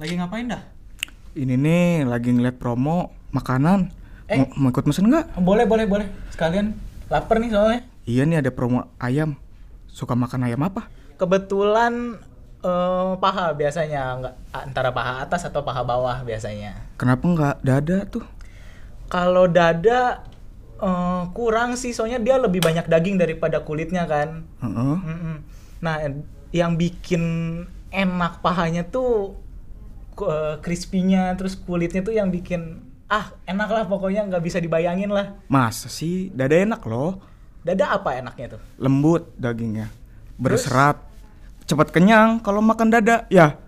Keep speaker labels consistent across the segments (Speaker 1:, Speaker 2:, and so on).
Speaker 1: Lagi ngapain dah?
Speaker 2: Ini nih lagi ngeliat promo makanan.
Speaker 1: Eh.
Speaker 2: Mau, mau ikut mesen nggak?
Speaker 1: Boleh, boleh, boleh. Sekalian lapar nih soalnya.
Speaker 2: Iya nih ada promo ayam. Suka makan ayam apa?
Speaker 1: Kebetulan eh, paha biasanya nggak antara paha atas atau paha bawah biasanya.
Speaker 2: Kenapa nggak dada tuh?
Speaker 1: Kalau dada eh, kurang sih soalnya dia lebih banyak daging daripada kulitnya kan.
Speaker 2: Heeh.
Speaker 1: Mm-mm. Nah, yang bikin enak pahanya tuh ku- eh, crispy-nya, terus kulitnya tuh yang bikin ah enak lah pokoknya nggak bisa dibayangin lah.
Speaker 2: Masa sih dada enak loh.
Speaker 1: Dada apa enaknya tuh?
Speaker 2: Lembut dagingnya. Berserat. Cepat kenyang kalau makan dada. Ya,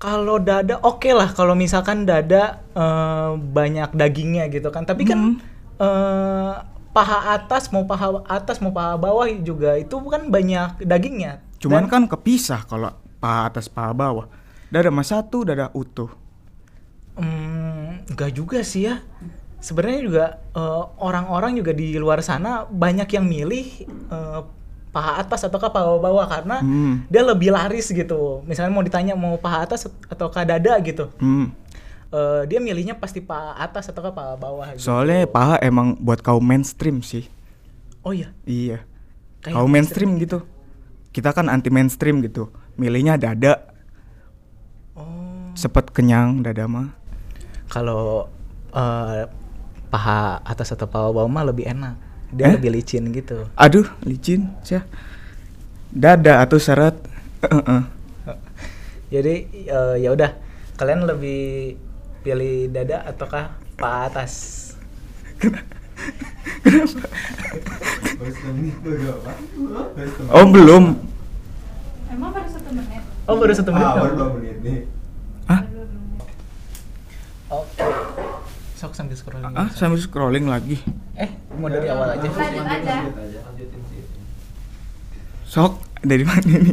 Speaker 1: Kalau dada oke lah kalau misalkan dada eh, banyak dagingnya gitu kan. Tapi
Speaker 2: Hmm.
Speaker 1: kan eh, paha atas mau paha atas mau paha bawah juga itu kan banyak dagingnya.
Speaker 2: cuman kan kepisah kalau paha atas paha bawah. Dada mas satu, dada utuh.
Speaker 1: Hmm, enggak juga sih ya. Sebenarnya juga eh, orang-orang juga di luar sana banyak yang milih eh, paha atas ataukah paha bawah karena
Speaker 2: Hmm.
Speaker 1: dia lebih laris gitu. Misalnya mau ditanya mau paha atas ataukah dada gitu.
Speaker 2: Hmm.
Speaker 1: Eh, dia milihnya pasti paha atas ataukah paha bawah gitu.
Speaker 2: Soalnya paha emang buat kaum mainstream sih.
Speaker 1: Oh iya,
Speaker 2: Iya.
Speaker 1: Kayak
Speaker 2: Kaum mainstream gitu. Kita kan anti mainstream gitu. Milihnya dada. Oh. Sepet kenyang dada mah.
Speaker 1: kalau eh, paha atas atau paha bawah mah lebih enak. Dia lebih licin gitu.
Speaker 2: Aduh, licin sih. Dada atau seret. Eh, eh.
Speaker 1: Jadi eh, ya udah kalian lebih pilih dada ataukah paha atas?
Speaker 2: Oh, belum.
Speaker 3: Emang baru satu menit?
Speaker 1: Oh baru satu menit. doang.
Speaker 4: menit nih.
Speaker 2: Hah?
Speaker 1: Oke. Sok sambil scrolling.
Speaker 2: Ah, sambil scrolling lagi.
Speaker 1: Eh, mau dari awal aja.
Speaker 3: Lanjut aja.
Speaker 4: Lanjutin sih.
Speaker 2: Sok dari mana ini?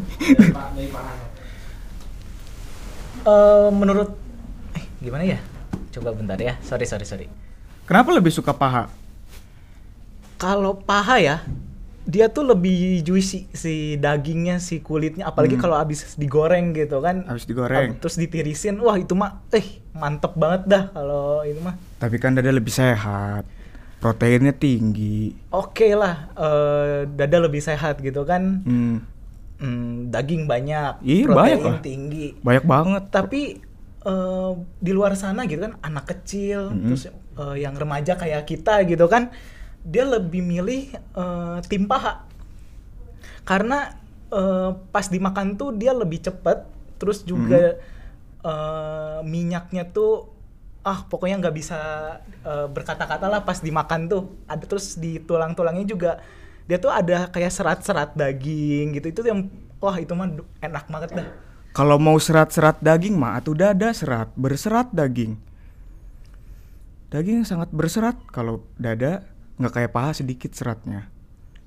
Speaker 1: Eh, menurut eh gimana ya? Coba bentar ya. Sorry, sorry, sorry.
Speaker 2: Kenapa lebih suka paha?
Speaker 1: Kalau paha ya, dia tuh lebih juicy si dagingnya, si kulitnya, apalagi kalau abis digoreng gitu kan.
Speaker 2: Abis Hmm. digoreng.
Speaker 1: Ab- Terus ditirisin, wah itu mah, eh mantep banget dah kalau itu mah.
Speaker 2: Tapi kan dada lebih sehat. Proteinnya tinggi.
Speaker 1: Oke lah, eh, dada lebih sehat gitu kan.
Speaker 2: Hmm.
Speaker 1: Hmm, daging banyak,
Speaker 2: Iya,
Speaker 1: protein
Speaker 2: banyak lah.
Speaker 1: tinggi.
Speaker 2: Banyak banget.
Speaker 1: tapi eh, di luar sana gitu kan anak kecil
Speaker 2: Mm-hmm.
Speaker 1: terus eh, yang remaja kayak kita gitu kan dia lebih milih eh, tim paha karena eh, pas dimakan tuh dia lebih cepet terus juga
Speaker 2: Mm-hmm.
Speaker 1: eh, minyaknya tuh ah pokoknya nggak bisa eh, berkata-kata lah pas dimakan tuh ada terus di tulang-tulangnya juga dia tuh ada kayak serat-serat daging gitu itu yang wah itu mah enak banget dah
Speaker 2: Kalau mau serat-serat daging mah atau dada serat, berserat daging. Daging yang sangat berserat kalau dada nggak kayak paha sedikit seratnya.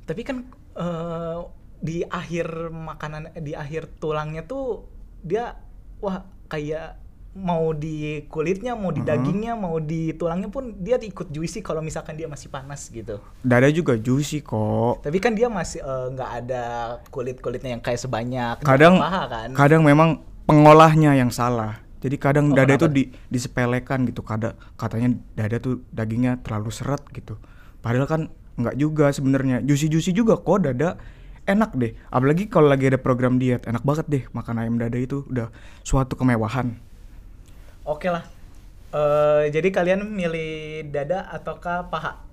Speaker 1: Tapi kan eh, di akhir makanan di akhir tulangnya tuh dia wah kayak mau di kulitnya, mau di dagingnya, mau di tulangnya pun dia ikut juicy kalau misalkan dia masih panas gitu.
Speaker 2: Dada juga juicy kok.
Speaker 1: Tapi kan dia masih eh, nggak ada kulit-kulitnya yang kayak sebanyak
Speaker 2: Kadang
Speaker 1: paha kan.
Speaker 2: kadang memang pengolahnya yang salah. Jadi
Speaker 1: Oh,
Speaker 2: kadang dada itu
Speaker 1: kenapa?
Speaker 2: di, disepelekan gitu. Kada katanya dada tuh dagingnya terlalu serat gitu. Padahal kan nggak juga sebenarnya. Juicy-juicy juga kok dada. Enak deh. Apalagi kalau lagi ada program diet, enak banget deh makan ayam dada itu. Udah suatu kemewahan.
Speaker 1: Oke lah. Eh, jadi kalian milih dada ataukah paha?